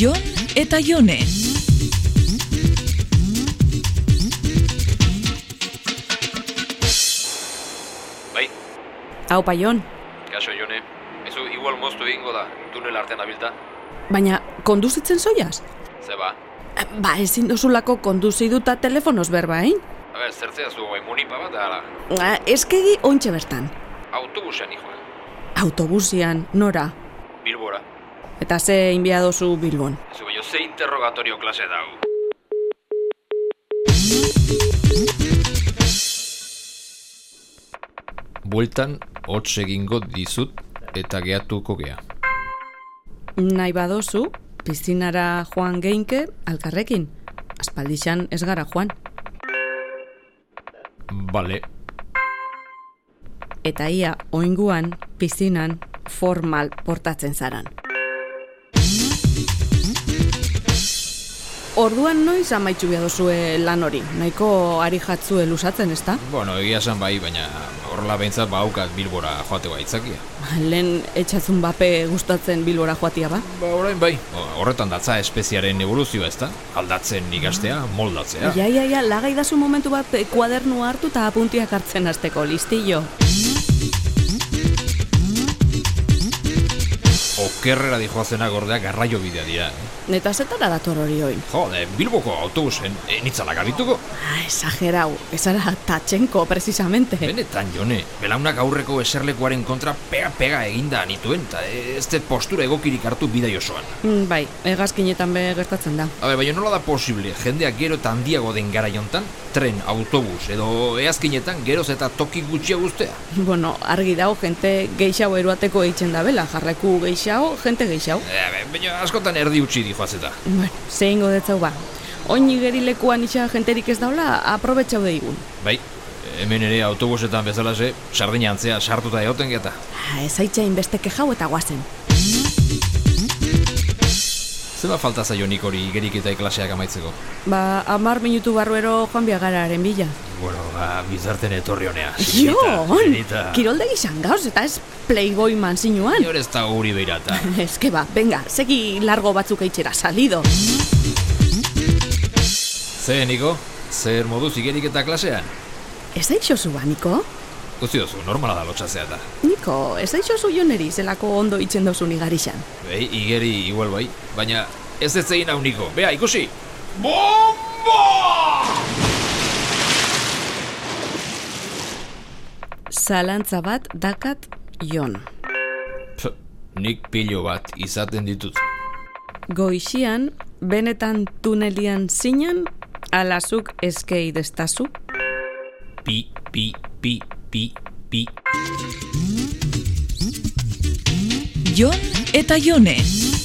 Jon eta Jone. Bai, Hau paion, kaso jone. Ezu igual moztu egingo da, tunel artean abilta. baina konduzitzen zoiaz? Zeba, Ba, ezin duzulako konduziduta telefonoz berbain? a ber, zertzea zu bai munipa bat, ala, Ba, Eskegi ontxe bertan. autobusan joan, Autobusian, nora. Bilbora. Eta ze inbiadozu Bilbon. Ezu baino ze interrogatorio klase dau. Bueltan, hotz egingo dizut eta gehatuko gea. Nahi badozu, pizinara joan geinke alkarrekin. Aspaldixan ez gara joan. Bale, Eta ia, oinguan, pizinan, formal portatzen zaran. Orduan noiz amaitzu behadozue lan hori, nahiko ari jatzue lusatzen, ezta? bueno, egia esan bai, baina horrela behintzat baukat Bilbora joateko aitzakia. Lehen etxatzun bape gustatzen bilbora joatia ba? Ba, orain bai. Horretan datza espeziaren evoluzioa, ezta? Aldatzen ikastea, moldatzea. Ja, ja, ja, lagai dazu momentu bat eh, kuadernua hartu eta apuntiak hartzen hasteko listillo. Okerrera dijoazena gordea garraio bidea dira. eh? Eta zetara dator hori oin. Jode, Bilboko autobusen, e, nitzala gabituko. Ah, esagerau, ezara tatxenko, precisamente. Benetan, jone, belaunak aurreko eserlekuaren kontra pega-pega eginda nituen, eta ez dut postura egokirik hartu bidai osoan. Mm, bai, hegazkinetan be gertatzen da. Habe, baina nola da posible, jendeak gero eta handiago den gara jontan, tren, autobus, edo eazkinetan geroz eta toki gutxia guztea. Bueno, argi dago jente geixau eruateko eitzen da bela, jarraiku geixau, jente geixau. E, baina askotan erdi utzi dijoazeta. Bueno, zein godetzau ba. Oin igerilekuan isa jenterik ez daula, aprobetxau deigun. Bai, hemen ere autobusetan bezalase, sardina antzea sartuta egoten geta. Ah, ez aitzain beste kexau eta guazen. Zeba falta zaio nik hori igeriketa klaseak amaitzeko? Ba, amar minutu barruero joan biagararen bila. Bueno, ba, bizarten etorri honea. Jo, on! Kirolde gizan gauz, eta ez playboy manzinuan. Inor ez da guri beirata. Ez que ba, venga, segi largo batzuk eitxera, salido. Ze, Niko? Zer moduz igeriketa klasean? Ez daixozu ba, Niko? Guzti dozu, normala da lotxatzea eta. Niko, ez daixozu joneri zelako ondo itzen dozun igarixan. Ei, igeri igual bai, baina ez ez egin hau Niko. Bea, ikusi! Bomba! Zalantza bat dakat jon. Pff, nik pilo bat izaten ditut. Goixian, benetan tunelian zinan, alazuk eskei destazu. Pi, pi, pi, pi, pi. Jon eta Jone.